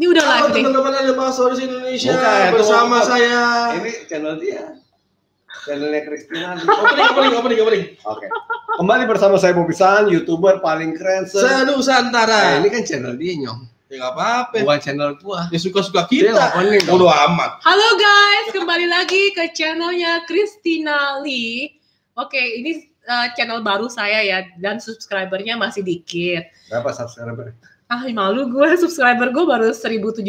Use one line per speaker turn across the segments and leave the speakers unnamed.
Ini udah live
Halo
nih.
teman-teman ada bahasa Oris Indonesia
Bukan, itu
bersama
mau-
saya.
Ini channel dia. Channelnya Kristina.
Opening, opening, opening, opening.
Oke. Kembali bersama saya Bobby San, YouTuber paling keren. se-
Saya
Eh,
Nusantara.
ini kan channel dia nyong.
Ya nggak apa-apa.
Bukan channel gua.
Ya suka-suka
Dia
kita.
opening dong.
Bodo amat.
Halo guys, kembali lagi ke channelnya Christina Lee. Oke, ini eh, channel baru saya ya dan subscribernya masih dikit.
Berapa subscriber?
Ah malu gue subscriber gue baru 1.700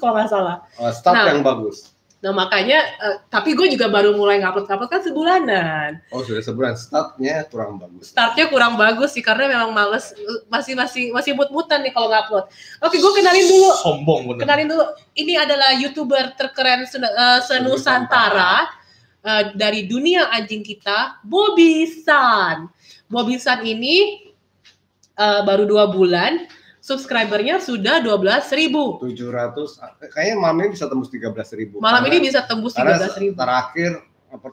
kalau nggak salah.
Oh, start
Nah.
yang bagus.
Nah makanya, eh, tapi gue juga baru mulai ngupload-ngupload kan sebulanan.
Oh sudah sebulan startnya kurang bagus.
Startnya kurang bagus sih karena memang males masih masih masih mut-mutan nih kalau ngupload. Oke, gue kenalin dulu.
Sombong bener.
Kenalin dulu, ini adalah youtuber terkeren sen- eh, senusantara eh, dari dunia anjing kita, Bobby San. Bobby San ini eh, baru dua bulan, subscribernya sudah 12.000 ribu.
700 eh, kayaknya malam ini bisa tembus 13.000 ribu.
Malam ini bisa tembus 13.000 ribu.
terakhir per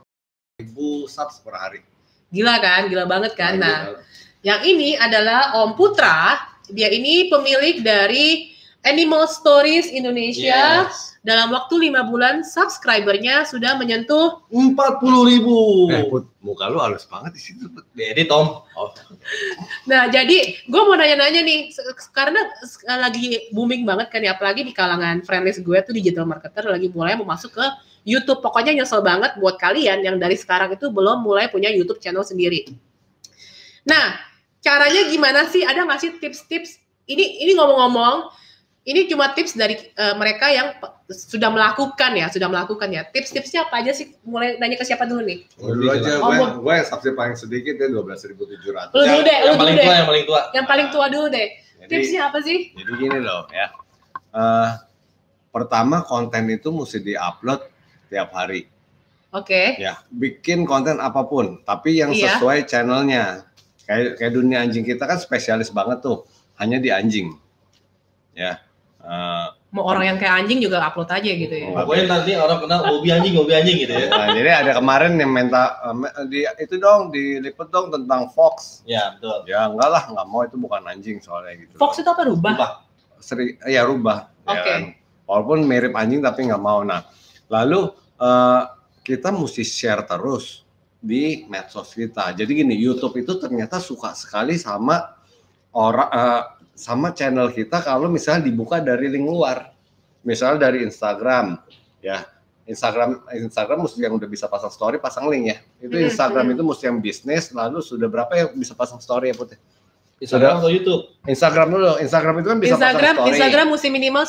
ribu subs per hari. gitu
Gila kan, gila banget kan. Nah,
Lagi-
Yang ini adalah Om Putra. Dia ini pemilik dari Animal Stories Indonesia.
Iya.
Yes.
Dalam waktu lima bulan, subscribernya sudah menyentuh.
Empat puluh ribu.
Eh, Put, muka lu halus banget di situ. Put. Oh,
Jadi Tom.
Nah, jadi gue mau nanya-nanya nih, se- karena se- lagi booming banget kan ya, apalagi di kalangan friendlist gue tuh digital marketer lagi mulai mau masuk ke YouTube. Pokoknya nyesel banget buat kalian yang dari sekarang itu belum mulai punya YouTube channel sendiri. Nah, caranya gimana sih? Ada nggak sih tips-tips? Ini ini ngomong-ngomong, ini cuma tips dari eh, mereka yang pe- sudah melakukan ya, sudah melakukan ya. Tips-tipsnya apa aja sih? Mulai nanya ke siapa dulu nih?
Gua dulu aja,
Oh,
gue,
Put.
gue yang subsnya paling sedikit ya 12.700.
Lu dulu deh, lu
Yang
dulu
paling
deh.
tua, yang paling tua.
Yang paling tua dulu deh.
Jadi,
Tipsnya apa sih?
jadi gini loh ya. Eh, pertama konten itu mesti diupload tiap hari.
Oke.
Ya, bikin konten apapun, tapi yang
Iya.
sesuai channelnya. Kayak kayak dunia anjing kita kan spesialis banget tuh, hanya di anjing. Ya, Eh,
Mau orang yang kayak anjing juga upload aja gitu ya.
Oh.
Pokoknya nanti orang kenal Bobby anjing, Bobby anjing gitu
Iya.
ya.
nah, jadi ada kemarin yang minta eh, me- di, itu dong diliput dong tentang fox.
Ya betul.
Ya enggak lah, enggak mau itu bukan anjing soalnya gitu.
Fox itu apa rubah?
Rubah.
Seri, ya rubah. ya
Oke.
kan. Walaupun mirip anjing tapi nggak mau. Nah, lalu eh, kita mesti share terus di medsos kita. Jadi gini, YouTube itu ternyata suka sekali sama orang eh, sama channel kita kalau misalnya dibuka dari link luar. Misalnya dari Instagram, ya. Instagram Instagram mesti yang udah bisa pasang story, pasang link ya. Itu
Mhm,
Instagram
mhm.
itu mesti yang bisnis, lalu sudah berapa yang bisa pasang story ya Putih?
Instagram atau YouTube.
Instagram dulu, Instagram itu kan bisa
Instagram
pasang story.
Instagram mesti minimal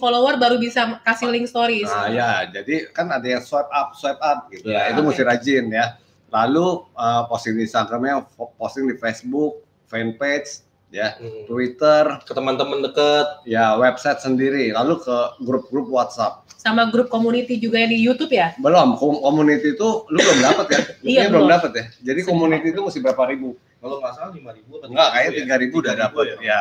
10.000 follower baru bisa kasih link stories.
Nah ya, jadi kan ada yang swipe up, swipe up gitu.
Ya.
Ya, itu mesti rajin ya. Lalu eh, posting di Instagramnya, fo- posting di Facebook, fanpage, ya,
Hmm.
Twitter,
Ke teman-teman dekat.
ya website sendiri. Lalu ke grup-grup WhatsApp.
Sama grup community juga yang di YouTube ya.
Belum, kom- community itu lu belum dapat ya?
Iya,
Ini belum
belum.
dapat ya. Jadi community itu mesti berapa ribu?
Kalau nggak salah lima ribu.
Enggak, kayaknya tiga ribu udah dapat. Ya.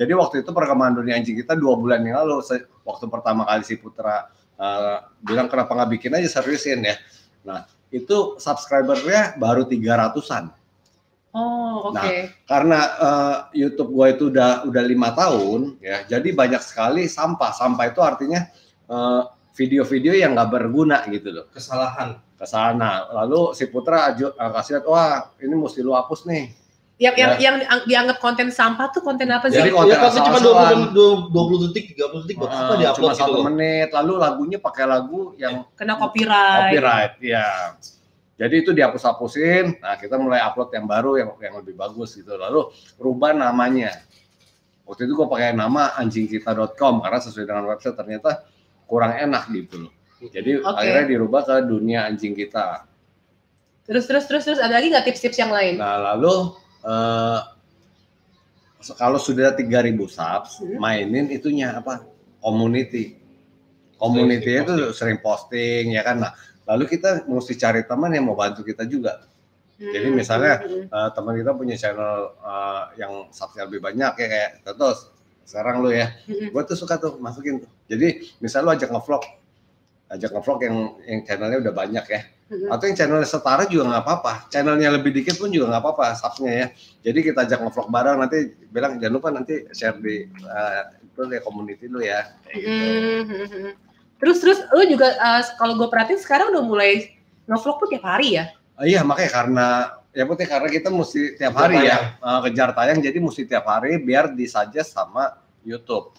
Jadi waktu itu perkembangan dunia anjing kita dua bulan yang lalu, se- waktu pertama kali si Putra eh, bilang kenapa nggak bikin aja seriusin ya. Nah itu subscribernya baru 300-an
Oh, oke.
karena eh, YouTube gua itu udah udah lima tahun ya jadi banyak sekali sampah sampah itu artinya eh, video-video yang nggak berguna gitu loh
Kesalahan.
ke sana lalu si Putra aju- eh, kasih lihat wah ini mesti lu hapus nih
Yang yang
Ya.
yang diang- dianggap konten sampah tuh konten apa sih?
Jadi
Jadi konten
konten cuma dua
asal-asalan.
puluh dua puluh detik, tiga puluh detik buat apa
Eh,
di upload
cuma
gitu
satu
loh.
menit lalu lagunya pakai lagu yang
Kena copyright.
copyright ya jadi itu dihapus-hapusin nah kita mulai upload yang baru yang yang lebih bagus gitu lalu rubah namanya waktu itu gua pakai nama anjingkita.com karena sesuai dengan website ternyata kurang enak gitu loh jadi
Oke.
akhirnya dirubah ke dunia anjing kita
Terus terus terus terus ada lagi nggak tips-tips yang lain?
nah lalu eh, kalau sudah 3000 subs
Hmm.
mainin itunya apa community community
Sering
itu sering posting ya kan nah lalu kita mesti cari teman yang mau bantu kita juga jadi
Hmm,
misalnya,
hmm, hmm.
Eh, teman kita punya channel eh, yang subscribe lebih banyak ya kayak contoh sekarang lu ya
Hmm, hmm.
gue tuh suka tuh masukin tuh jadi misal lu ajak ngevlog ajak ngevlog yang yang channelnya udah banyak ya
Hmm.
atau yang channelnya setara juga nggak apa-apa channelnya lebih dikit pun juga nggak apa-apa subsnya ya jadi kita ajak ngevlog bareng nanti bilang jangan lupa nanti share di eh, lu ya community lu ya kayak gitu.
Mhm. Terus terus lu juga eh, kalau gue perhatiin sekarang udah mulai ngevlog tuh tiap hari ya.
Ah, iya makanya karena ya putih karena kita mesti tiap hari
Kejar
ya eh, kejar tayang jadi mesti tiap hari biar disuggest sama YouTube.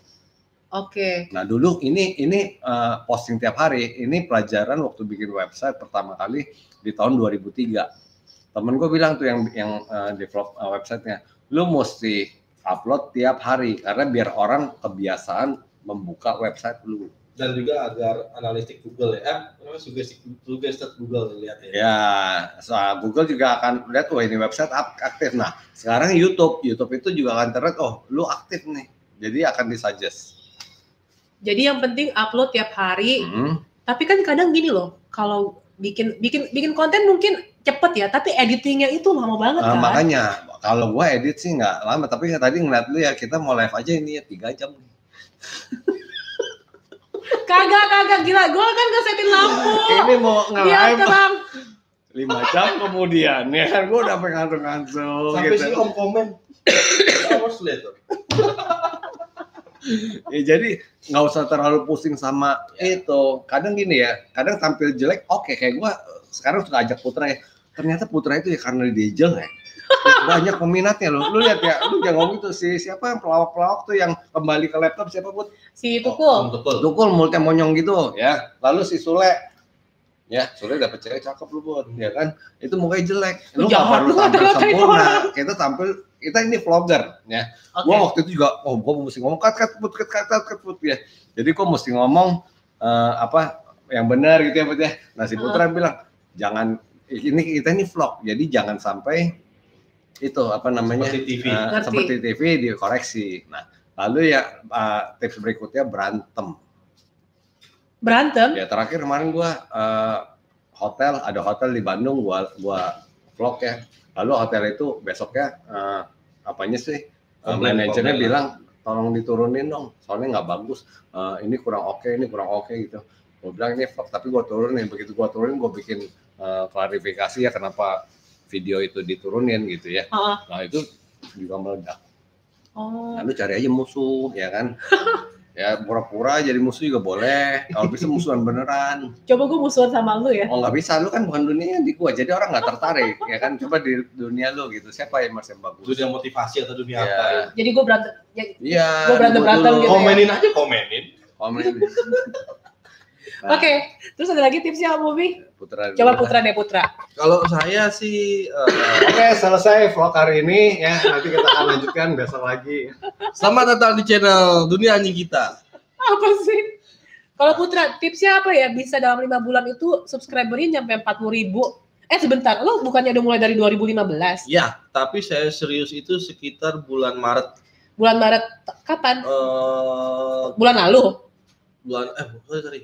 Oke.
Nah dulu ini ini eh, posting tiap hari ini pelajaran waktu bikin website pertama kali di tahun 2003. Temen gue bilang tuh yang yang eh, develop eh, websitenya, lu mesti upload tiap hari karena biar orang kebiasaan membuka website lu.
Dan juga agar analistik Google ya. Eh, namanya sugestif sugestif Google lihat ya.
Ya, soal Google juga akan lihat, wah ini website ak- aktif. Nah, sekarang YouTube, YouTube itu juga akan terlihat, oh lu aktif nih. Jadi akan disuggest.
Jadi yang penting upload tiap hari.
Hmm.
Tapi kan kadang gini loh, kalau bikin bikin bikin konten mungkin cepet ya, tapi editingnya itu lama banget
Nah,
kan.
makanya kalau gua edit sih nggak lama, tapi tadi ngeliat lu ya kita mau live aja ini ya tiga jam.
Kagak kagak gila, gue kan ngesetin lampu. Iya,
Ini mau
Biar
nge-live
terang.
lima jam kemudian ya kan gua udah pengen ngantuk
Sampai si
gitu.
Om komen. Kamu harus lihat tuh.
Ya, jadi nggak usah terlalu pusing sama itu. Kadang gini ya, kadang tampil jelek oke kayak gua sekarang suka ajak Putra ya. Ternyata Putra itu ya karena dia jelek. ya banyak peminatnya loh. Lu lihat ya, lu jangan ngomong itu si siapa yang pelawak-pelawak tuh yang kembali ke laptop siapa put?
Si
Om
Tukul.
Tukul.
Tukul mulutnya monyong gitu ya. Lalu si Sule ya Sule dapet cewek cakep lu buat ya kan itu mukanya jelek lu nggak
Jahat
perlu
lu,
tampil
ngatain
sempurna
orang.
kita tampil kita ini vlogger ya
Oke.
Gua waktu itu juga, oh gua mesti ngomong cut cut put cut cut cut cut, put," ya. Jadi gua mesti ngomong eh, apa yang benar gitu ya Put ya. Nah si Putra bilang jangan ini kita ini vlog, jadi jangan sampai itu apa namanya
Seperti TV.
eh,
Ngerti.
seperti TV dikoreksi. Nah lalu ya eh, tips berikutnya berantem.
Berantem.
Ya terakhir kemarin gua eh, hotel ada hotel di Bandung gua gua vlog ya. Lalu hotel itu besoknya eh, apanya sih? Eh,
Komplain,
manajernya
komplain.
bilang tolong diturunin dong, soalnya nggak bagus. Eh, ini kurang oke, ini kurang oke gitu. Gua bilang ini vlog tapi gua turunin. Begitu gua turunin gua bikin eh, klarifikasi ya kenapa video itu diturunin gitu ya.
Heeh.
Nah itu juga meledak.
Oh.
Nah, lu cari aja musuh ya kan. ya pura-pura jadi musuh juga boleh. Kalau bisa musuhan beneran.
Coba gue musuhan sama lu ya.
Oh nggak bisa, lu kan bukan dunia di gua, jadi orang nggak tertarik, ya kan? Coba di dunia lu gitu, siapa yang masih bagus?
Dunia motivasi atau dunia
Ya.
apa ya.
Jadi gue berantem. ya-
Iya.
Gua berantem-berantem
dulu. Oh,
gitu ya.
Komenin aja komenin.
Komenin. Nah,
Oke. Terus ada lagi tipsnya Om Bobi?
Putra. dulu.
Coba Putra deh Putra.
Kalau saya sih, eh, oke selesai vlog hari ini ya. Nanti kita akan lanjutkan besok lagi.
Selamat datang di channel Dunia Anjing Kita.
apa sih? Kalau Putra, tipsnya apa ya? Bisa dalam lima bulan itu subscribernya nyampe 40 ribu. Eh sebentar, lo bukannya udah mulai dari 2015?
Ya, tapi saya serius itu sekitar bulan Maret.
Bulan Maret, t- kapan?
Eh,
Bulan lalu?
bulan eh bukan sorry.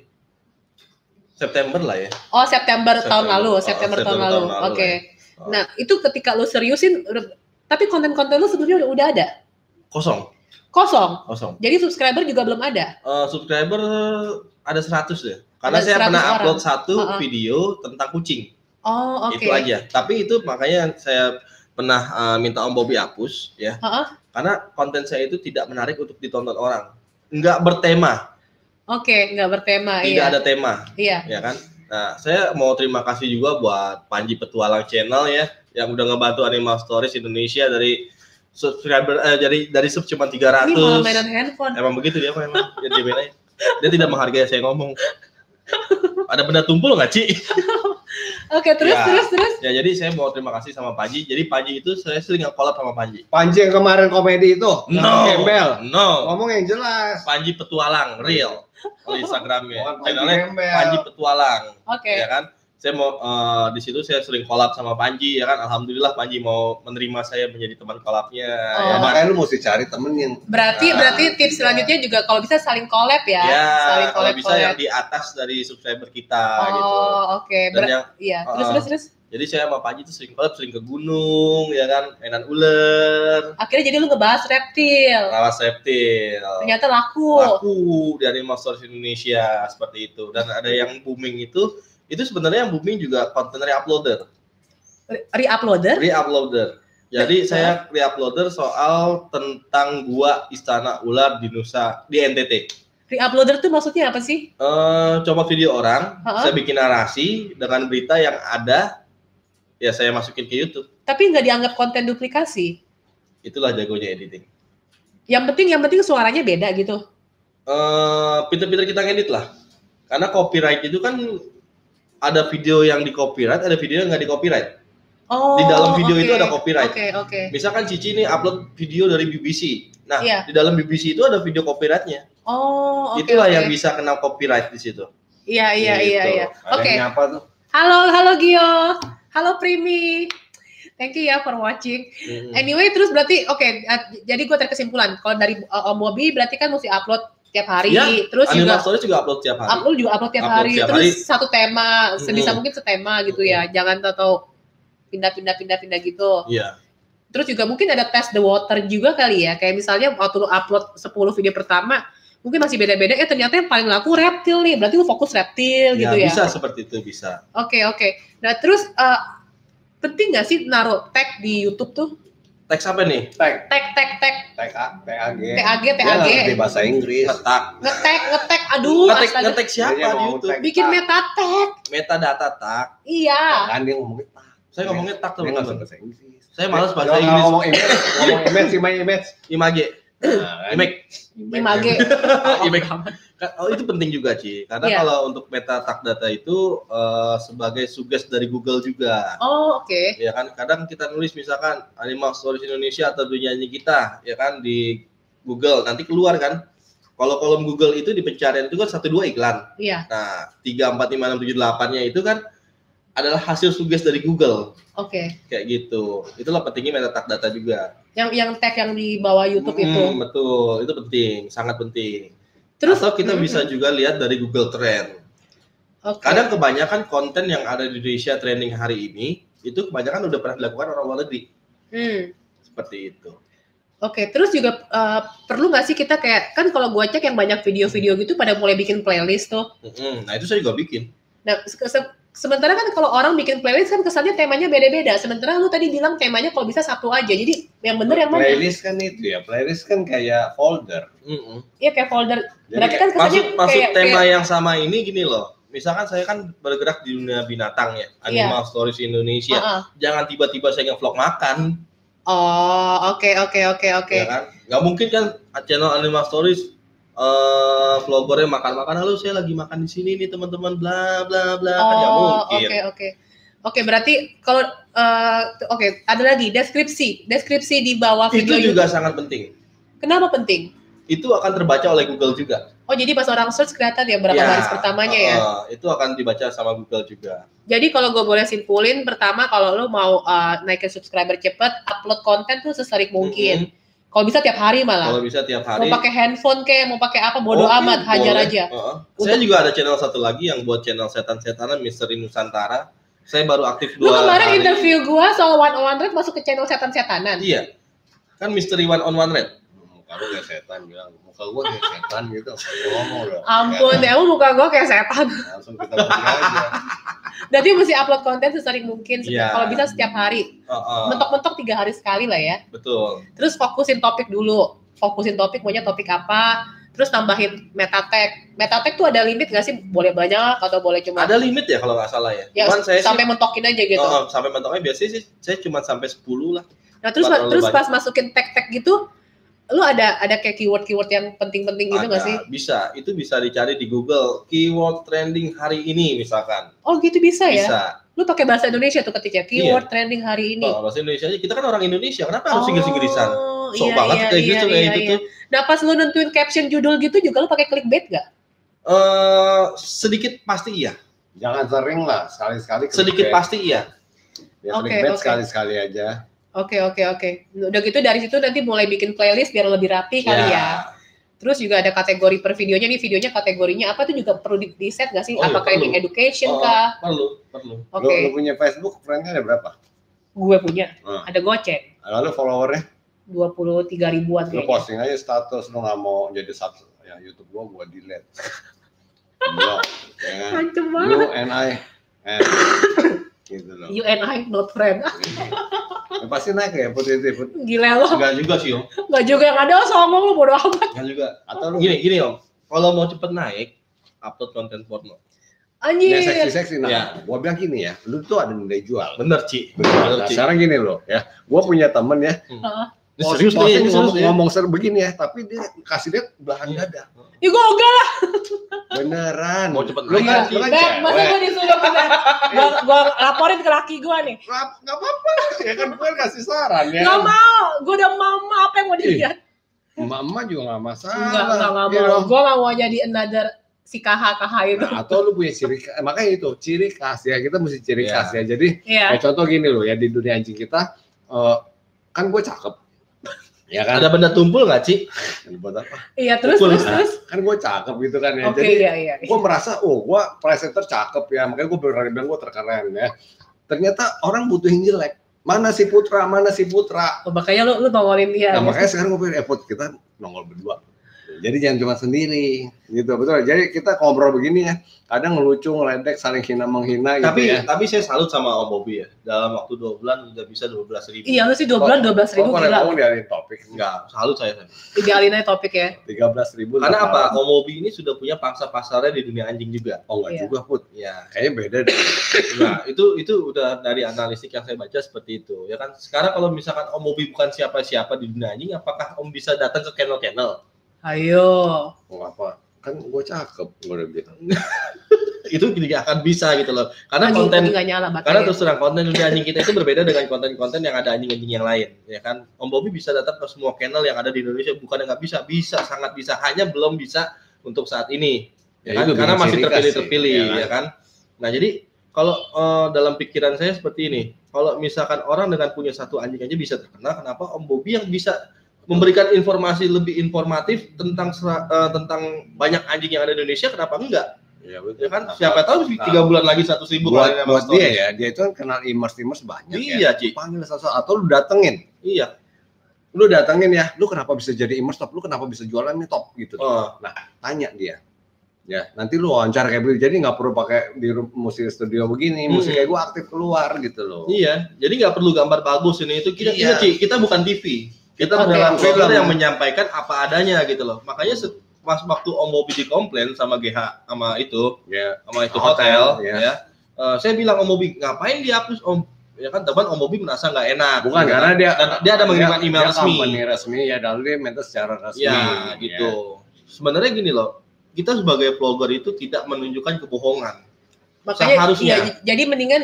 September lah ya.
Oh September, tahun
September.
lalu,
Oh,
September, tahun
September
lalu.
tahun
Oke.
lalu, ya. Oh.
Nah itu ketika lo seriusin, udah- tapi konten-konten lo sebelumnya udah, udah ada?
Kosong,
Kosong.
kosong.
Jadi subscriber juga belum ada.
Eh, subscriber ada 100 deh. Karena
Ada
saya
100
pernah
orang.
upload satu
Heeh.
video tentang kucing.
Oh oke.
Itu aja. Tapi itu makanya yang saya pernah eh, minta Om Bobby hapus ya.
Heeh.
Karena konten saya itu tidak menarik untuk ditonton orang. Enggak bertema,
Oke, nggak bertema.
tidak
iya.
ada tema.
Iya.
ya kan. Nah, saya mau terima kasih juga buat Panji Petualang Channel ya yang udah ngebantu Animal Stories Indonesia dari subscriber eh, dari dari sub cuma
Ini malah mainan
300.
handphone.
Emang begitu dia emang. emang. Dia dibelain. Dia tidak menghargai saya ngomong. Ada benda tumpul nggak, Ci?
Oke, terus
Ya.
terus terus.
Ya, jadi saya mau terima kasih sama Panji. Jadi Panji itu saya sering nge-collab sama Panji.
Panji yang kemarin komedi itu,
No.
Gembel.
No.
Ngomong yang jelas.
Panji Petualang real di
Bukan
Instagramnya.
Panji
Channelnya
Gembel.
Panji Petualang.
Oke.
ya kan saya mau eh, di situ saya sering kolab sama Panji ya kan alhamdulillah Panji mau menerima saya menjadi teman kolabnya
Ya,
Oh.
ya kan
makanya lu mesti cari temen yang
Berarti
Nah,
berarti tips selanjutnya juga kalau bisa saling collab ya.
ya
saling
kalau
collab.
bisa yang di atas dari subscriber kita
oh,
gitu
oke.
dan
Ber-
yang
Iya, terus
Uh-uh.
terus terus.
jadi saya sama Panji tuh sering kolab sering ke gunung ya kan mainan ular
Akhirnya jadi lu ngebahas reptil.
rawas reptil
Ternyata laku.
laku dari Animal Stories Indonesia seperti itu dan ada yang booming itu itu sebenarnya yang booming juga konten reuploader
Re- Re-uploader.
reuploader Jadi saya reuploader soal tentang gua istana ular di Nusa di NTT.
Reuploader tuh maksudnya apa sih?
Eh, coba video orang,
Ha-ha.
saya bikin narasi dengan berita yang ada, ya saya masukin ke YouTube.
Tapi nggak dianggap konten duplikasi.
Itulah jagonya editing.
Yang penting yang penting suaranya beda gitu.
eh pinter-pinter kita ngedit lah. Karena copyright itu kan ada video yang di copyright, ada video yang nggak di copyright.
Oh.
Di dalam video
oke.
itu ada copyright.
Oke, oke.
Misalkan Cici ini upload video dari BBC. Nah,
Iya.
di dalam BBC itu ada video copyrightnya.
Oh, oke.
Itulah
oke.
yang bisa kena copyright di situ.
Iya, iya, iya,
Gitu.
iya.
Ada
Oke.
yang nyapa tuh?
Halo, halo Gio. Halo Primi. Thank you ya for watching.
Mm.
Anyway, terus berarti oke, eh, jadi gue tarik kesimpulan kalau dari eh, Om Bobby berarti kan mesti upload tiap hari,
Iya,
terus juga
Anima Stories juga upload tiap hari.
upload juga upload tiap
Upload
hari,
tiap
terus
hari. Hmm.
satu tema sebisa
Mm-mm.
mungkin setema gitu ya, jangan tahu pindah-pindah pindah-pindah gitu.
Iya.
Terus juga mungkin ada test the water juga kali ya. Kayak misalnya waktu lu upload 10 video pertama, mungkin masih beda-beda. Eh ternyata yang paling laku reptil nih. Berarti lu fokus reptil
Ya,
gitu ya.
bisa seperti itu bisa.
Oke, oke. Nah, terus eh, penting nggak sih naruh tag di YouTube tuh?
Teks apa nih?
Tag,
Tag tag tag
tag, tag.
tag
Dia
tag.
Ya,
ngerti bahasa Inggris.
Ngetak.
Ngetek ngetek aduh
Ngetek,
astaga.
ngetek siapa
Dia
di
Iya, mau
YouTube?
tag.
Bikin meta tag.
Metadata tak.
Iya.
Kan dia ngomongin tag.
Saya ngomongnya tak
Dia Iya, nggak usah
teman-teman.
bahasa Inggris.
Saya malas bahasa
Kalau
Inggris.
Eh, Ngomong image, ngomong image, sih, main image.
Image.
Nah,
Image.
Image.
Image. Ka- Oh, itu penting juga Ci, karena
Iya.
kalau untuk meta tag data itu eh, sebagai suges dari Google juga.
Oh, oke.
Ya kan, kadang kita nulis misalkan Animal Stories Indonesia atau dunianya kita, ya kan di Google nanti keluar kan. Kalau kolom Google itu di pencarian itu kan satu dua iklan.
Iya.
Nah, tiga empat lima enam tujuh delapannya itu kan adalah hasil suges dari Google
Oke.
kayak gitu. Itulah pentingnya meta tag data juga.
Yang yang tag yang di bawah YouTube itu.
Hmm, betul, itu penting, sangat penting.
Terus
Atau kita
Mm-mm.
bisa juga lihat dari Google Trend.
Oke.
kadang kebanyakan konten yang ada di Indonesia trending hari ini itu kebanyakan udah pernah dilakukan orang luar negeri
Hmm.
seperti itu.
Oke, terus juga eh, perlu nggak sih kita kayak kan kalau gua cek yang banyak video-video gitu pada mulai bikin playlist tuh.
Mm-mm. Nah itu saya juga bikin.
Nah, se- se- sementara kan kalau orang bikin playlist kan kesannya temanya beda-beda. Sementara lu tadi bilang temanya kalau bisa satu aja. Jadi yang bener yang mana?
Playlist kan itu ya, playlist kan kayak folder.
Mm-mm.
Iya kayak folder.
Jadi
Berarti
kayak-
kan kesannya
Masuk masuk
kayak,
tema
kayak-
yang sama ini gini loh. Misalkan saya kan bergerak di dunia binatang ya, animal stories Indonesia.
Iya. Heeh.
Jangan tiba-tiba saya nge-vlog makan,
Oh, oke oke oke oke.
ya kan? Gak mungkin kan channel animal stories eh vloggernya makan-makan. Halo, saya lagi makan di sini nih teman-teman, bla bla bla. kan gak
Oh,
mungkin.
oke oke. Oke, berarti kalau eh, oke, ada lagi deskripsi. Deskripsi di bawah
Itu
video
juga
YouTube.
sangat penting.
Kenapa penting?
Itu akan terbaca oleh Google juga.
Oh, jadi pas orang search kelihatan ya berapa
Ya,
garis pertamanya ya.
uh, itu akan dibaca sama Google juga.
Jadi kalau gue boleh simpulin, pertama kalau lo mau uh, naikin subscriber cepet, upload konten tuh sesering mungkin.
Mm-mm.
Kalau bisa tiap hari malah.
Kalau bisa
Mau
tiap hari.
pakai handphone kayak mau pakai apa bodoh
Oke,
amat, hajar
boleh.
aja.
Uh-uh. Saya juga ada channel satu lagi yang buat channel setan-setanan Misteri Nusantara. Saya baru aktif
Lu
dua
kemarin
hari.
interview gue soal one on one Red masuk ke channel setan-setanan.
Iya. Kan Misteri One on One Red.
Muka lu kayak setan bilang, muka gua kayak setan gitu. Gua ngomong loh.
Ampun,
Iya.
Kayak,
ya muka gue kayak setan.
Langsung kita beli aja.
Jadi mesti upload konten sesering mungkin.
Iya.
Kalau bisa setiap hari.
Uh-uh,
Mentok-mentok tiga hari sekali lah ya.
Betul.
Terus fokusin topik dulu. Fokusin topik, maunya topik apa. Terus tambahin meta tag. Meta tag tuh ada limit gak sih? Boleh banyak atau boleh cuma
Ada limit ya kalau nggak salah ya.
ya
Cuman saya
sampai
sih,
mentokin aja gitu.
uh-uh, sampai mentoknya biasanya sih saya cuma sampai 10 lah.
nah terus
nggak terlalu
terus pas masukin tag-tag gitu, lu ada ada kayak keyword-keyword yang penting-penting gitu nggak
Ada.
sih?
Bisa. Itu bisa dicari di Google. Keyword trending hari ini misalkan.
Oh gitu bisa ya?
Bisa. Iya.
Lu pakai bahasa Indonesia tuh ketika keyword trending hari ini.
Kalau bahasa Indonesia aja, kita kan orang Indonesia, kenapa harus Inggris-Inggrisan?
Oh,
Sok banget kayak gitu, kayak gitu tuh.
Nah pas lu nentuin caption judul gitu juga lu pakai clickbait gak?
Eh, sedikit pasti iya,
Jangan sering lah, sekali-sekali.
sedikit
clickbait.
pasti iya.
Ya,
Oke,
clickbait
oke.
sekali-sekali aja.
Oke oke oke. Udah gitu dari situ nanti mulai bikin playlist biar lebih rapi
Iya.
kali ya. Terus juga ada kategori per videonya nih videonya kategorinya apa tuh juga perlu di, di set gak sih?
Oh, iya,
Apakah ini
perlu.
education
Oh,
kah?
perlu, perlu.
Oke.
Lu, lu punya Facebook, friend-nya ada berapa?
gue punya
Nah.
Hmm.
ada gocek
Lalu followernya,
23 ribuan
lu
kayaknya.
posting aja status, lu nggak mau jadi sub ya YouTube gua, gua delete. Blok, ya kan?
Hancur banget. Iya.
You and I, and gitu loh.
You and I not friend.
Ya, pasti naik ya positif.
Ah, Gila lo,
Enggak juga sih, Om.
nggak juga yang ada lo songong lo bodo amat.
Enggak juga.
Atau lu
Gini, gini, Om. Kalau mau cepet naik, upload konten porno.
ya
Anjir.
seksi-seksi. Nah,
Iya.
gua bilang gini ya, lu tuh ada nilai jual.
Bener, Ci.
Nah,
Bener, Ci.
sekarang gini loh ya, gua punya temen ya,
Ini
post-
serius nih, ini
posting
serius
ngomong,
nih.
ngomong ser begini ya, tapi dia kasih dia belahan
Iya.
dada.
Ya gue ogah lah.
Beneran.
Mau cepet
lu
naik,
kan,
Ci.
lu kan
Dan masa
cewek.
gue disuruh ke gue gue laporin ke laki gue nih.
Lap- Nggak apa-apa, ya kan gue kasih saran ya.
Gak mau, gue udah mama apa yang mau dilihat?
Mama juga nggak masalah.
Enggak, enggak, enggak
ya
mau.
dong.
Gue gak mau jadi another si KH-KH itu.
Nah, atau lu punya ciri eh, makanya itu ciri khas ya kita mesti ciri
Iya.
khas ya jadi
Iya.
ya, contoh gini loh ya di dunia anjing kita eh, kan gue cakep ya kan
Ada benda tumpul nggak, Ci?
buat apa
Iya, terus,
Pukul.
terus, terus.
kan gue cakep gitu kan ya
Oke,
Eh, jadi
iya, iya.
gue merasa oh gue presenter cakep ya makanya gue berani bilang gue terkeren ya ternyata orang butuh yang jelek mana si Putra mana si Putra
Oh, makanya lu, lu nongolin dia.
nah makanya sekarang gue pikir eh Put, kita nongol berdua jadi jangan cuma sendiri gitu betul jadi kita ngobrol begini ya kadang ngelucu ngeledek saling hina menghina gitu
Tapi
ya
tapi saya salut sama Om Bobby ya. Dalam waktu 2 bulan udah bisa 12 ribu.
Iya, lu sih 2
Oh,
bulan 12 ribu,
Kok
gila.
ngomong dialihin topik enggak?
Enggak, salut saya. Sam.
Idealin aja topik ya.
13 ribu.
Karena apa? Om Bobby ini sudah punya pangsa pasarnya di dunia anjing juga.
Oh enggak
Iya.
juga put.
Ya,
Kayaknya beda deh.
nah, itu itu udah dari analitik yang saya baca seperti itu. Ya kan sekarang kalau misalkan Om Bobby bukan siapa-siapa di dunia anjing, apakah Om bisa datang ke kennel kennel?
Ayo.
Oh, apa? Kan gue cakep gue udah bilang.
Itu tidak akan bisa gitu loh. Karena
Anjing,
konten
tadi nggak nyala baterai.
Karena terus terang konten dunia anjing kita itu berbeda dengan konten-konten yang ada anjing-anjing yang lain, ya kan? Om Bobby bisa datang ke semua channel yang ada di Indonesia, bukan nggak bisa, bisa sangat bisa, hanya belum bisa untuk saat ini, ya,
Ya,
kan?
itu
Karena
bilang
masih
ciri khas sih,
terpilih-terpilih,
ya kan?
ya kan? Nah jadi kalau eh, dalam pikiran saya seperti ini, kalau misalkan orang dengan punya satu anjing aja bisa terkenal, kenapa Om Bobby yang bisa memberikan informasi lebih informatif tentang sera- eh, tentang banyak anjing yang ada di Indonesia, kenapa enggak?
Iya
Ya kan? Siapa tahu tiga bulan lagi satu ribu
nah. buat,
kali nama
buat
story.
dia ya, dia itu kan kenal imers-imers banyak ya.
Iya, Ci.
Panggil sesuatu atau lu datengin.
Iya.
Lu datengin ya, lu kenapa bisa jadi imers top? Lu kenapa bisa jualan nih top gitu?
Oh.
Tanya dia. Ya, nanti lu wawancara kayak begitu. Jadi nggak perlu pakai di ru- musik studio begini,
Mm-mm.
musik kayak gue aktif keluar gitu loh.
Hmm. Iya, jadi nggak perlu gambar bagus ini itu. Kita,
Iya.
kita, Ci, kita bukan TV. Kita
Oke.
adalah
Film.
film yang menyampaikan apa adanya gitu loh. Makanya se- pas waktu Om Bobby dikomplain sama GH sama itu,
Ya,
sama itu
Hotel,
hotel,
iya.
ya. Eh, saya bilang Om Bobby ngapain dihapus Om? Ya kan teman Om Bobby merasa nggak enak.
bukan
Gitu
karena
kan.
dia
Dan dia ada mengirimkan email
dia
resmi.
company resmi ya, lalu dia minta secara resmi.
Ya, gitu. Sebenarnya gini loh, kita sebagai vlogger itu tidak menunjukkan kebohongan.
Makanya,
seharusnya.
iya, j- jadi mendingan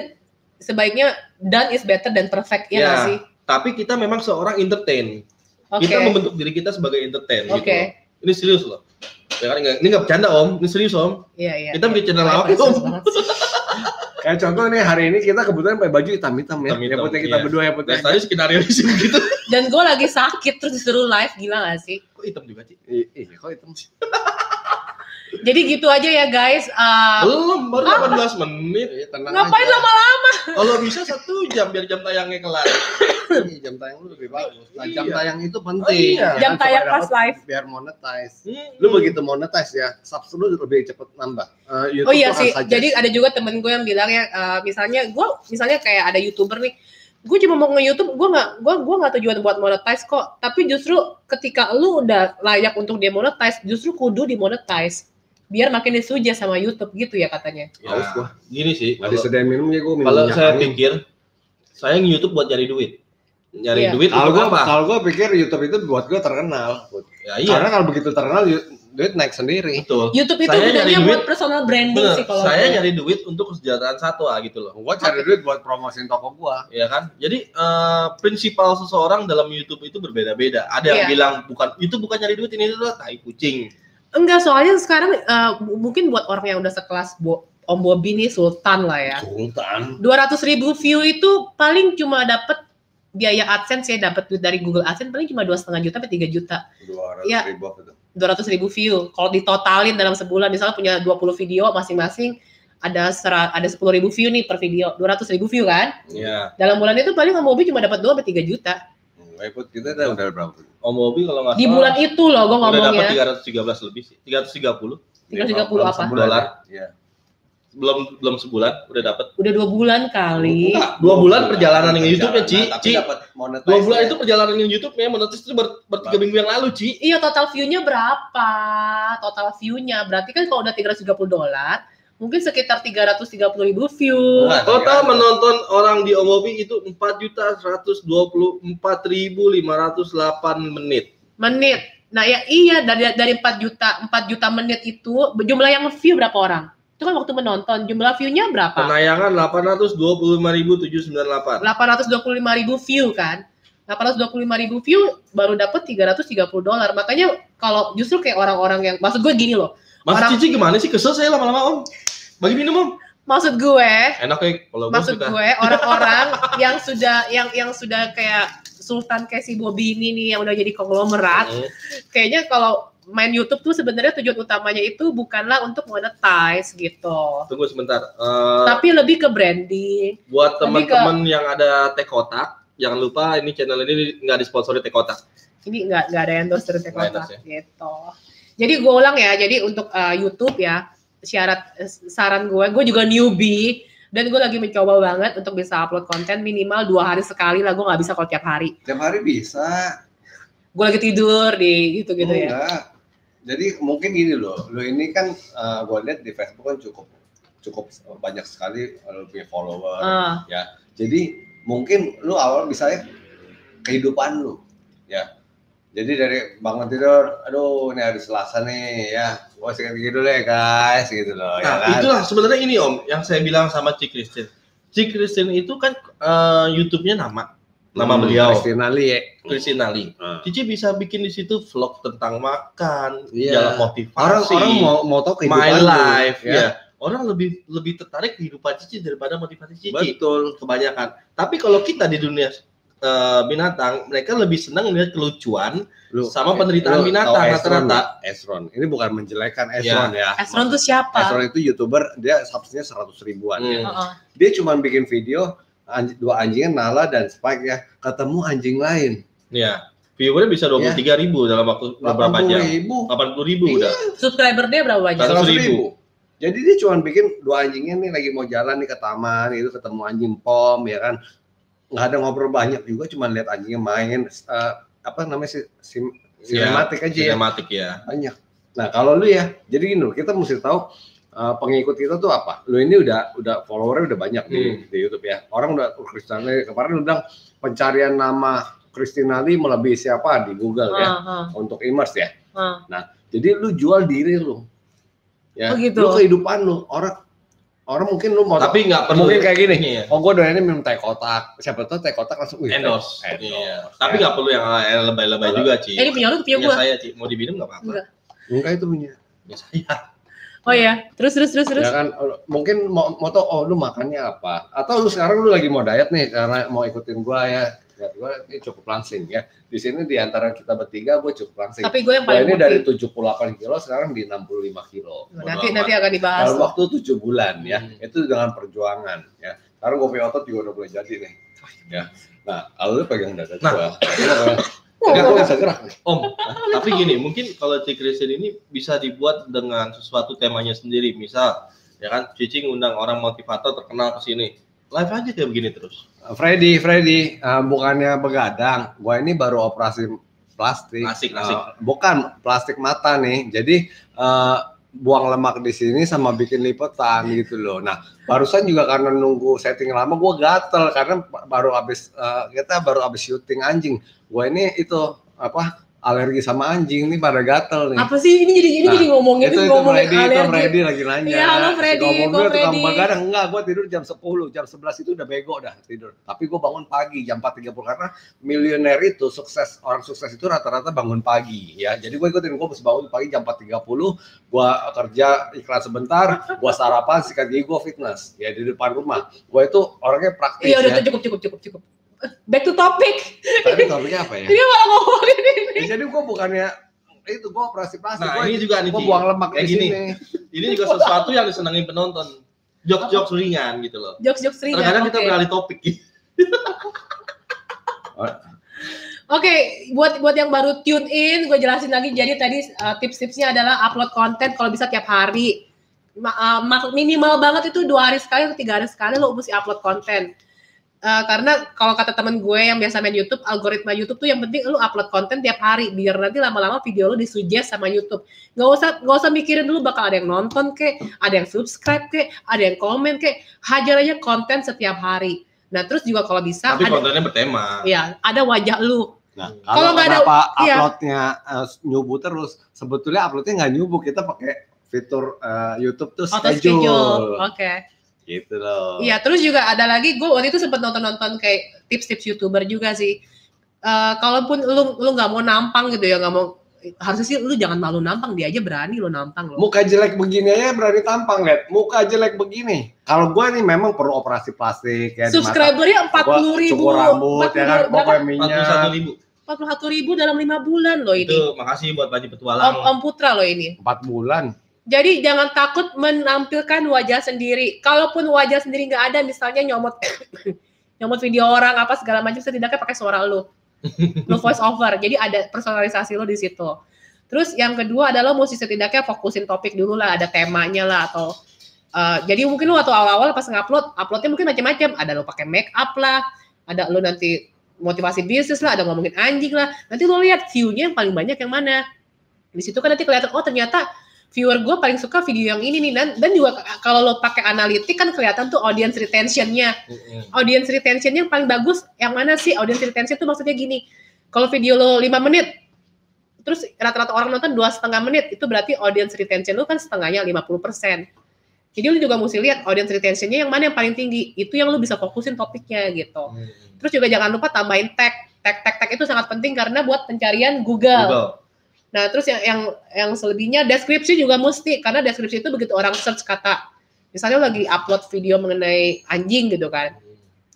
sebaiknya done is better than perfect, ya
Iya.
nggak sih?
Tapi kita memang seorang entertain.
Oke.
Kita membentuk diri kita sebagai
Oke.
entertain. Gitu loh. Ini serius loh. Ya kan, nggak- ini nggak bercanda om, ini serius om.
Iya, iya.
Kita bikin channel
Wah, itu
lawak itu.
serius banget sih.
Kayak Ya, contoh nih hari ini kita kebetulan pakai baju hitam-hitam ya.
Hitam-hitam,
ya putih kita
iya.
berdua ya putih.
Dan tadi skenario di sini gitu.
Dan gue lagi sakit terus disuruh live, gila nggak sih?
Kok hitam juga sih?
Ih, ih, ya kok hitam sih?
Jadi gitu aja ya guys. Uh,
Belum, baru 18 menit.
Iya, tenang
ngapain
aja.
lama-lama?
Kalau bisa satu jam biar jam tayangnya kelar.
Iya, jam tayang lu lebih bagus. Nah, jam
Iya.
tayang itu penting.
Oh, iya.
Ya
Jam
kan, supaya
tayang
dapat
pas live.
Biar monetize.
Hmm.
Lu begitu monetize ya, subs lu lebih cepet nambah. Eh, YouTube
Oh iya
tuh
sih.
akan suggest.
Jadi ada juga temen gue yang bilang ya, eh, misalnya gue, misalnya kayak ada youtuber nih, gue cuma mau nge-youtube, gue nggak, gue gue nggak tujuan buat monetize kok. Tapi justru ketika lu udah layak untuk demonetize, justru kudu demonetize biar makin disuja sama YouTube gitu ya katanya.
Ya,
Haus gua.
gini sih.
Nggak disediain minum ya gue minum.
Kalau
minyak
saya
angin.
pikir, saya YouTube buat cari duit. Nyari
Iya.
duit untuk
kalau gue
apa?
kalau gue pikir YouTube itu buat gue terkenal.
Ya iya,
Karena kalau begitu terkenal yu- duit naik sendiri.
betul.
YouTube itu
Saya nyari
gunanya
duit.
buat personal branding
Bener,
Iya sih kalau
saya
gue.
nyari duit untuk kesejahteraan satwa gitu loh.
Gue cari duit buat promosiin toko gue.
ya kan jadi eh, prinsipal seseorang dalam YouTube itu berbeda-beda ada yang
Iya.
bilang bukan itu bukan nyari duit ini itu adalah tai kucing
Enggak, soalnya sekarang eh, m- mungkin buat orang yang udah sekelas Bo- Om Bobby nih Sultan lah ya.
Sultan.
200 ribu view itu paling cuma dapet biaya AdSense ya dapat duit dari Google AdSense paling cuma dua setengah juta sampai 3 juta
Dua ratus
Iya.
ribu apa tuh?
200 ribu view kalau ditotalin dalam sebulan misalnya punya 20 video masing-masing ada sera- ada 10 ribu view nih per video 200 ribu view kan
Iya.
ya
dalam bulan itu paling Om Bobby cuma dapat 2 sampai 3 juta
Hmm, eh, Put, kita udah udah berapa?
Om Bobby kalau nggak
di bulan itu loh gue
Oh. udah ya? dapat
ngomongnya
313 lebih sih 330
330 apa?
Sebulan.
Dolar.
Iya.
belum belum sebulan udah dapat
Udah dua bulan kali.
Enggak, dua bulan perjalanan yang YouTube-nya, Ci.
Tapi
Ci.
dapat monetize. ya.
dua bulan itu perjalanan yang YouTube nya monetis itu ber, ber tiga minggu yang lalu Ci
Iya total view-nya berapa? Total view-nya berarti kan kalau udah 330 dolar, mungkin sekitar 330 ribu view.
Nah,
total
tiga.
menonton orang di Omobi itu empat juta seratus menit
Menit. Nah ya iya dari dari 4 juta 4 juta menit itu jumlah yang view berapa orang? Itu kan waktu menonton jumlah view-nya berapa?
penayangan 825.798
825 ribu view kan? 825 ribu view baru dapat 330 dolar. Makanya kalau justru kayak orang-orang yang maksud gue gini loh.
Mas
Orang-
Cici gimana sih kesel saya lama-lama Om bagi minum Om
Maksud gue
enak ya kalau gue
maksud
suka
gue orang-orang yang sudah yang yang sudah kayak Sultan kayak si Bobby ini nih yang udah jadi konglomerat
Hmm.
kayaknya kalau main YouTube tuh sebenarnya tujuan utamanya itu bukanlah untuk monetize gitu
tunggu sebentar Eh,
tapi lebih ke branding
buat
Tapi
teman-teman yang ada teh kotak jangan lupa ini channel ini nggak disponsori teh kotak
ini nggak nggak ada endorse dari
Nggak endorse
Tekota gitu jadi gue ulang ya jadi untuk eh, YouTube ya syarat eh, saran gue gue juga newbie dan gue lagi mencoba banget untuk bisa upload konten minimal dua hari sekali lah gue nggak bisa kalau tiap hari
Tiap hari bisa.
gue lagi tidur di gitu gitu ya
Enggak. Jadi mungkin gini loh, lo ini kan eh, gua lihat di Facebook kan cukup cukup banyak sekali eh, lo punya follower.
Ah.
Jadi mungkin lu awal misalnya kehidupan lu ya. Jadi dari bangun tidur, aduh ini hari Selasa nih ya, gua singkat gitu deh guys gitu loh ya
Nah,
kan.
itulah sebenarnya ini Om yang saya bilang sama Cik Christine. Cik Christine itu kan eh, YouTube-nya nama nama
Hmm,
beliau
Christina Lee ya.
Christine Ali. Cici bisa bikin di situ vlog tentang makan,
Iya.
jalan motivasi,
Orang orang mau mau tahu kehidupan
my
lu,
life, ya. Orang lebih lebih tertarik kehidupan Cici daripada motivasi Cici.
Betul.
Kebanyakan. Tapi kalau kita di dunia eh, binatang, mereka lebih senang melihat kelucuan.
Lu,
Sama penderitaan
lu
binatang
tahu Esron
rata-rata.
nggak? Esron. Ini bukan menjelekan Esron ya.
Esron Eh, tuh siapa? Eh,
Esron itu youtuber dia subsnya seratus ribuan. ya.
Hmm.
Heeh.
Dia cuma bikin video anj- dua anjingnya Nala dan Spike ya ketemu anjing lain
Ya, viewernya bisa 23.000 ribu dalam waktu beberapa
Iya. delapan
jam.
ribu
80 ribu
Iya.
udah.
Subscriber dia berapa banyak?
Satu- 100.000.
Jadi dia cuma bikin dua anjingnya nih lagi mau jalan nih ke taman itu ketemu anjing pom ya kan. Nggak ada ngobrol banyak juga cuma lihat anjingnya main eh, apa namanya sih sim- sinematik aja ya
Sinematik ya.
banyak. Nah, kalau lu ya jadi gini loh, kita mesti tahu eh, pengikut kita tuh apa? Lu ini udah udah followernya udah banyak nih
Hmm.
di YouTube ya. Orang udah oh, Christina Lee, kemarin udah pencarian nama Christina Lee melebihi siapa di
Eh,
Google ya
Ah.
Heeh.
untuk immerse ya.
Heeh.
Jadi lu jual diri lu. Ya.
Oh, gitu.
Lu kehidupan lu. Orang orang mungkin lu mau
Tapi nggak perlu
Oh, Mungkin kayak gini.
Iya.
Oh, gue doainnya minum teh kotak. Siapa tahu teh kotak langsung wih,
endorse.
endorse.
Iya. Tapi nggak perlu yang eh, lebay-lebay juga, Ci.
Eh, ini punya lu punya
Punya
gua.
Iya, saya, Ci. Mau diminum nggak apa-apa.
Enggak.
Enggak itu punya.
Punya saya.
Oh ya, terus terus terus terus.
Ya kan mungkin mau mau tau oh lu makannya apa atau lu sekarang lu lagi mau diet nih karena mau ikutin gua ya. Ya gua ini cukup langsing ya. Di sini di antara kita bertiga gua cukup langsing.
Tapi gue yang
Gua
paling
ini
ngerti.
dari 78 kilo sekarang di 65 kilo.
nanti
Bodo
nanti akan dibahas.
dalam waktu tujuh bulan ya
Hmm.
itu dengan perjuangan ya sekarang kopi otot juga udah boleh jadi nih
iya.
ya nah kalau lu pegang dada
Nah.
gua ya
Oh,
gua bisa gerak nih
Om, tapi gini, mungkin kalau Ci Christine ini bisa dibuat dengan sesuatu temanya sendiri. Misal, ya kan, Cici ngundang orang motivator terkenal ke sini. Live aja kayak begini terus.
Freddy Freddy eh, bukannya begadang gua ini baru operasi plastik
Asik,
Eh,
asik.
bukan plastik mata nih jadi eh, buang lemak di sini sama bikin lipetan gitu loh. Nah, barusan juga karena nunggu setting lama gua gatel karena baru habis eh, kita baru habis syuting anjing. Gua ini itu apa alergi sama anjing nih pada gatel nih.
Apa sih ini jadi ini
Nah,
jadi ngomongin
itu
ini
itu
ngomongin
Freddy, itu
alergi.
Freddy lagi nanya.
Iya, halo Freddy, Bang
Ngomongnya tukang
Freddy.
begadang enggak, gua tidur jam 10, jam 11 itu udah bego dah tidur. Tapi gua bangun pagi jam 4.30 karena milioner itu sukses, orang sukses itu rata-rata bangun pagi ya. Jadi gua ikutin gua mesti bangun pagi jam 4.30, gua kerja iklan sebentar, gua sarapan, sikat gigi gua fitness ya di depan rumah. Gua itu orangnya praktis
Iya udah
ya.
tuh cukup cukup cukup cukup. Back to topic.
Tadi topiknya apa ya?
Ini malah ngomongin ini.
Ya, jadi gua bukannya itu gua operasi plastik,
Nah,
gua,
ini juga nih,
gua
Ci.
buang lemak
Kayak
di
gini.
sini.
Ini juga sesuatu yang disenangi penonton. Jokes-jokes ringan gitu loh.
Jokes jokes ringan.
Terkadang kita
oke.
beralih topik gitu.
Oke, buat buat yang baru eh, tune in, gue jelasin lagi. Jadi tadi uh, tips-tipsnya adalah upload konten kalau bisa tiap hari. Ma- uh, mak- minimal banget itu dua hari sekali atau tiga hari sekali lo mesti upload konten. Eh, karena kalau kata temen gue yang biasa main YouTube, algoritma YouTube tuh yang penting lu upload konten tiap hari biar nanti lama-lama video lu disuggest sama YouTube. Gak usah nggak usah mikirin dulu bakal ada yang nonton kek, ada yang subscribe kek, ada yang komen kek. Hajar aja konten setiap hari. Nah terus juga kalau bisa
Tapi
ada,
kontennya bertema.
ya ada wajah lu.
Nah,
Kalau
kalau
nggak ada-
kenapa
iya.
uploadnya eh, nyubu terus, sebetulnya uploadnya nggak nyubu, kita pakai fitur eh, YouTube tuh
Auto
schedule.
schedule, oke.
Gitu loh.
Iya, terus juga ada lagi gue waktu itu sempet nonton-nonton kayak tips-tips youtuber juga sih. Eh kalaupun lu lu nggak mau nampang gitu ya, nggak mau harusnya sih lu jangan malu nampang dia aja berani lu nampang lo.
Muka jelek begini aja berani tampang, lihat. Muka jelek begini. Kalau gua nih memang perlu operasi plastik ya.
Subscribernya empat puluh ribu,
cukur rambut ya kan, pokoknya minyak.
41 ribu.
empat puluh satu ribu dalam lima bulan loh ini.
Itu makasih buat Panji
Om,
Petualang.
Om Putra loh ini.
4 bulan.
Jadi jangan takut menampilkan wajah sendiri. Kalaupun wajah sendiri nggak ada, misalnya nyomot nyomot video orang apa segala macam, setidaknya pakai suara lu. Lu voice over. Jadi ada personalisasi lu di situ. Terus yang kedua adalah lo mesti setidaknya fokusin topik dulu lah, ada temanya lah atau eh, jadi mungkin lu atau awal-awal pas ngupload, uploadnya mungkin macam-macam. Ada lu pakai make up lah, ada lu nanti motivasi bisnis lah, ada ngomongin anjing lah. Nanti lu lihat view-nya yang paling banyak yang mana. Di situ kan nanti kelihatan oh ternyata viewer gue paling suka video yang ini nih dan dan juga k- kalau lo pakai analitik kan kelihatan tuh audience retentionnya
Mm-mm.
audience retentionnya yang paling bagus yang mana sih audience retention tuh maksudnya gini kalau video lo 5 menit terus rata-rata orang nonton dua setengah menit itu berarti audience retention lo kan setengahnya 50% jadi lo juga mesti lihat audience retentionnya yang mana yang paling tinggi itu yang lo bisa fokusin topiknya gitu
Mm-mm.
terus juga jangan lupa tambahin tag tag tag tag itu sangat penting karena buat pencarian Google.
Google.
Nah, terus yang yang yang selebihnya deskripsi juga mesti karena deskripsi itu begitu orang search kata misalnya lo lagi upload video mengenai anjing gitu kan.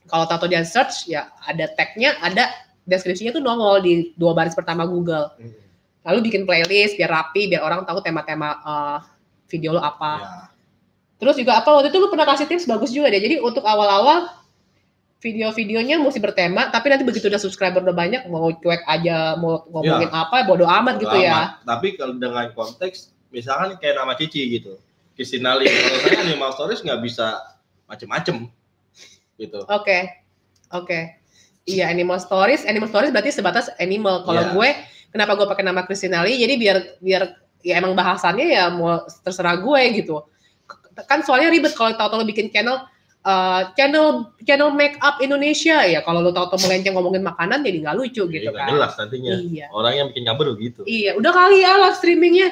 Kalau tato dia search ya ada tag-nya, ada deskripsinya tuh nongol di dua baris pertama Google.
Iya.
Mm-mm.
Lalu bikin playlist biar rapi, biar orang tahu tema-tema eh, video lo apa.
Ya.
Terus juga apa waktu itu lu pernah kasih tips bagus juga deh. Jadi untuk awal-awal video-videonya mesti bertema, tapi nanti begitu udah subscriber udah banyak mau cuek aja, mau ngomongin apa Iya. bodo amat gitu ya.
Lama. Tapi kalau dengan konteks misalkan kayak nama Cici gitu. Kristinali kalau saya animal stories nggak bisa macem-macem gitu.
Oke, oke. Iya, animal stories. Animal stories berarti sebatas animal. Kalau
Iya.
gue, kenapa gue pakai nama Kristinali? Jadi biar biar ya emang bahasannya ya mau terserah gue gitu. K- Kan soalnya ribet kalau tahu-tahu lo bikin channel eh, channel channel make up Indonesia ya. Kalau lo tahu-tahu melenceng ngomongin makanan jadi nggak lucu gitu
Jadi nggak
kan.
jelas ya. nantinya.
Iya,
Orang yang bikin gambar begitu.
iya. Udah kali ya live streamingnya.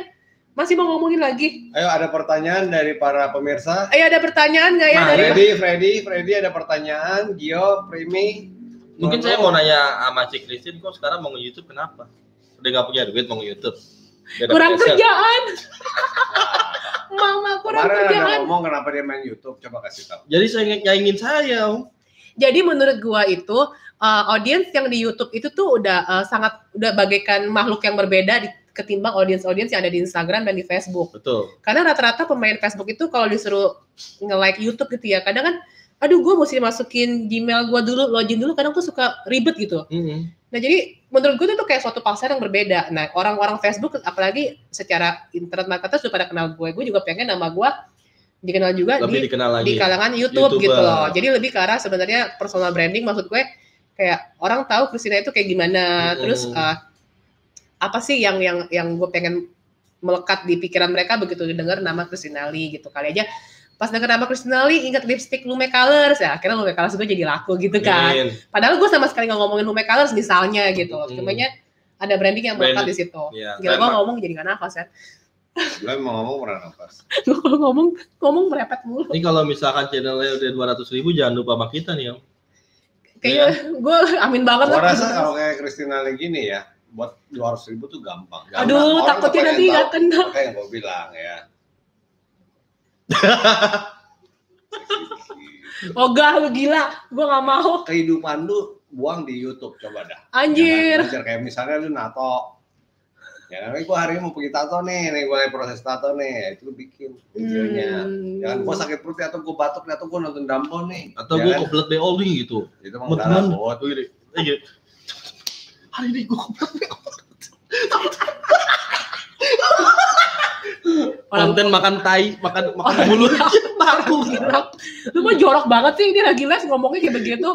Masih mau ngomongin lagi?
Ayo ada pertanyaan dari para pemirsa.
Eh ada pertanyaan nggak ya
Nah,
dari?
Freddy, Freddy, Freddy ada pertanyaan. Gio, Primi.
Mungkin
Nono.
saya mau nanya sama Cik Kristin kok sekarang mau nge-youtube kenapa? Udah nggak punya duit mau nge-youtube. Nggak ada
Kurang
penghasilan.
kerjaan, mama kurang
Kemarin ada
kerjaan.
ngomong kenapa dia main YouTube, coba kasih tahu.
Jadi saya nge- nyaingin saya. Om.
Jadi menurut gua itu uh, audiens yang di YouTube itu tuh udah uh, sangat udah bagaikan makhluk yang berbeda di, ketimbang audiens-audiens yang ada di Instagram dan di Facebook.
Betul.
Karena rata-rata pemain Facebook itu kalau disuruh nge-like YouTube gitu ya, kadang kan aduh gua mesti masukin Gmail gua dulu, login dulu, kadang tuh suka ribet gitu.
Mm-mm.
Nah, jadi menurut gua itu tuh kayak suatu pasar yang berbeda. Nah, orang-orang Facebook apalagi secara internet marketer sudah pada kenal gue. Gue juga pengen nama gua dikenal juga di
Lebih dikenal lagi.
di kalangan YouTube
YouTuber.
gitu loh. Jadi lebih ke arah sebenarnya personal branding maksud gue kayak orang tahu Christina itu kayak gimana,
Mm-mm.
terus eh, apa sih yang yang yang gue pengen melekat di pikiran mereka begitu dengar nama Christina Lee gitu kali aja. Pas denger nama Christina Lee ingat lipstick Lume Colors ya, akhirnya Lume Colors gue jadi laku gitu
Iya,
kan.
Amin.
Padahal gue sama sekali nggak ngomongin Lume Colors misalnya gitu loh.
Mm-mm.
Cumanya ada branding yang melekat
Branding.
di situ.
Iya.
Gila gue
Landmark.
ngomong jadi gak nafas ya.
Lo emang ngomong pernah nafas.
Gue kalau ngomong ngomong merepet mulu.
Ini kalau misalkan channelnya udah 200 ribu jangan lupa sama kita nih om. Iya.
Kayaknya gue amin banget.
Gua
lah.
rasa kalau kayak Kristina lagi gini ya, buat 200 ribu tuh gampang. gampang.
Aduh,
Ya Orang
takutnya
tuh pengen
nanti ya.
tahu.
nggak kena.
Makanya yang gue bilang ya.
Ogah lu gila, gua nggak mau.
Kehidupan lu buang di YouTube coba dah. Ya
Anjir.
kan? Belajar kayak misalnya lu nato. Ya kan, gue hari ini mau pergi tato nih, nih gue lagi proses tato nih, Ya, itu lu bikin videonya.
Hmm.
Ya kan, gue sakit perut nih, atau gue batuk nih, atau gue nonton Dumbo nih.
Atau
Ya
gue
kan?
kebelet BO nih gitu.
itu mau
Beneran.
darah bot.
Gue gini. Iya. Hari ini gue kebelet BO.
Orang-
konten makan tai, makan makan
Orang-
bulu.
Aku bilang, lu mah jorok banget sih ini lagi les ngomongnya kayak begitu.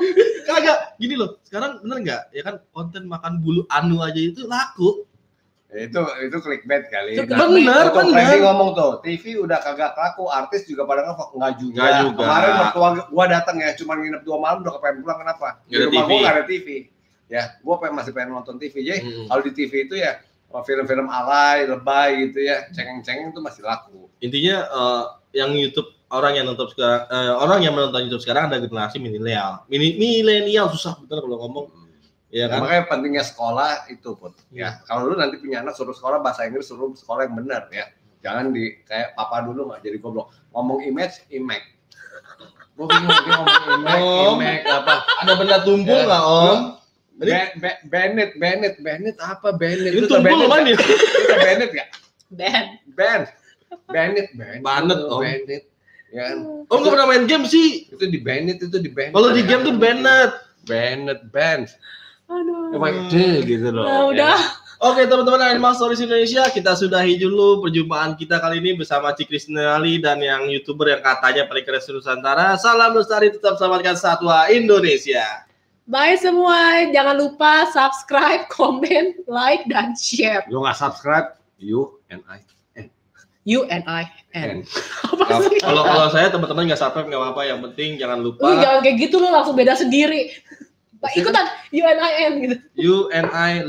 Kagak, gini loh. Sekarang bener nggak? Ya kan konten makan bulu anu aja itu laku.
Ya, Itu itu clickbait kali.
Itu
Nah,
Bener,
Tuh,
bener.
Freddy ngomong tuh, TV udah kagak laku, artis juga pada ngefok nggak juga.
Nggak juga.
Kemarin mertua gua datang ya, cuma nginep dua malam udah kepengen pulang kenapa?
Nggak
Di
ada
rumah
TV.
gua nggak ada TV. Ya, gua pengen, masih pengen nonton TV. Jadi
Hmm.
kalau di TV itu ya film-film alay, lebay gitu ya, cengeng-cengeng itu masih laku.
Intinya eh, yang YouTube orang yang nonton sekarang eh, orang yang menonton YouTube sekarang ada generasi milenial. Mini- Milenial susah bener kalau ngomong, ya
Ya,
kan?
makanya pentingnya sekolah itu pun ya. Kalau lu nanti punya anak suruh sekolah bahasa Inggris suruh sekolah yang benar ya. Jangan di kayak papa dulu nggak jadi goblok. Ngomong image, imek. Gue bingung dia ngomong imek,
Om.
imek apa?
Ada benda tumpul
Ya.
nggak, Om?
Be- Be- Bennett, Bennett, Bennett apa Bennett?
Itu
Lu tau
tumpul kan mana?
Bennett nggak? Lu tau Bennett nggak?
Ben.
Ben, Bennett, Bennett,
Bennett, Om.
Bennett. Ya,
Om Oh, nggak pernah main game sih.
itu di Bennett, itu di Bennett.
Kalau di game tuh Bennett.
Bennett, Ben.
Aduh.
Emang
Hmm.
deh gitu loh.
Nah, udah.
Oke teman-teman Animal Stories Indonesia, kita sudahi dulu perjumpaan kita kali ini bersama Cikri Ali dan yang youtuber yang katanya paling keren di Nusantara. Salam lestari tetap selamatkan satwa Indonesia.
Ya.
Bye semua. Jangan lupa subscribe, komen, like, dan share.
Ya. Lu nggak subscribe, you and I.
You and I and.
And.
Apa sih?
Kalau kalau saya teman-teman nggak subscribe nggak apa-apa, yang penting jangan
Lu
lupa
jangan kayak gitu lu langsung beda sendiri. Ikutan you and I and gitu.
you and I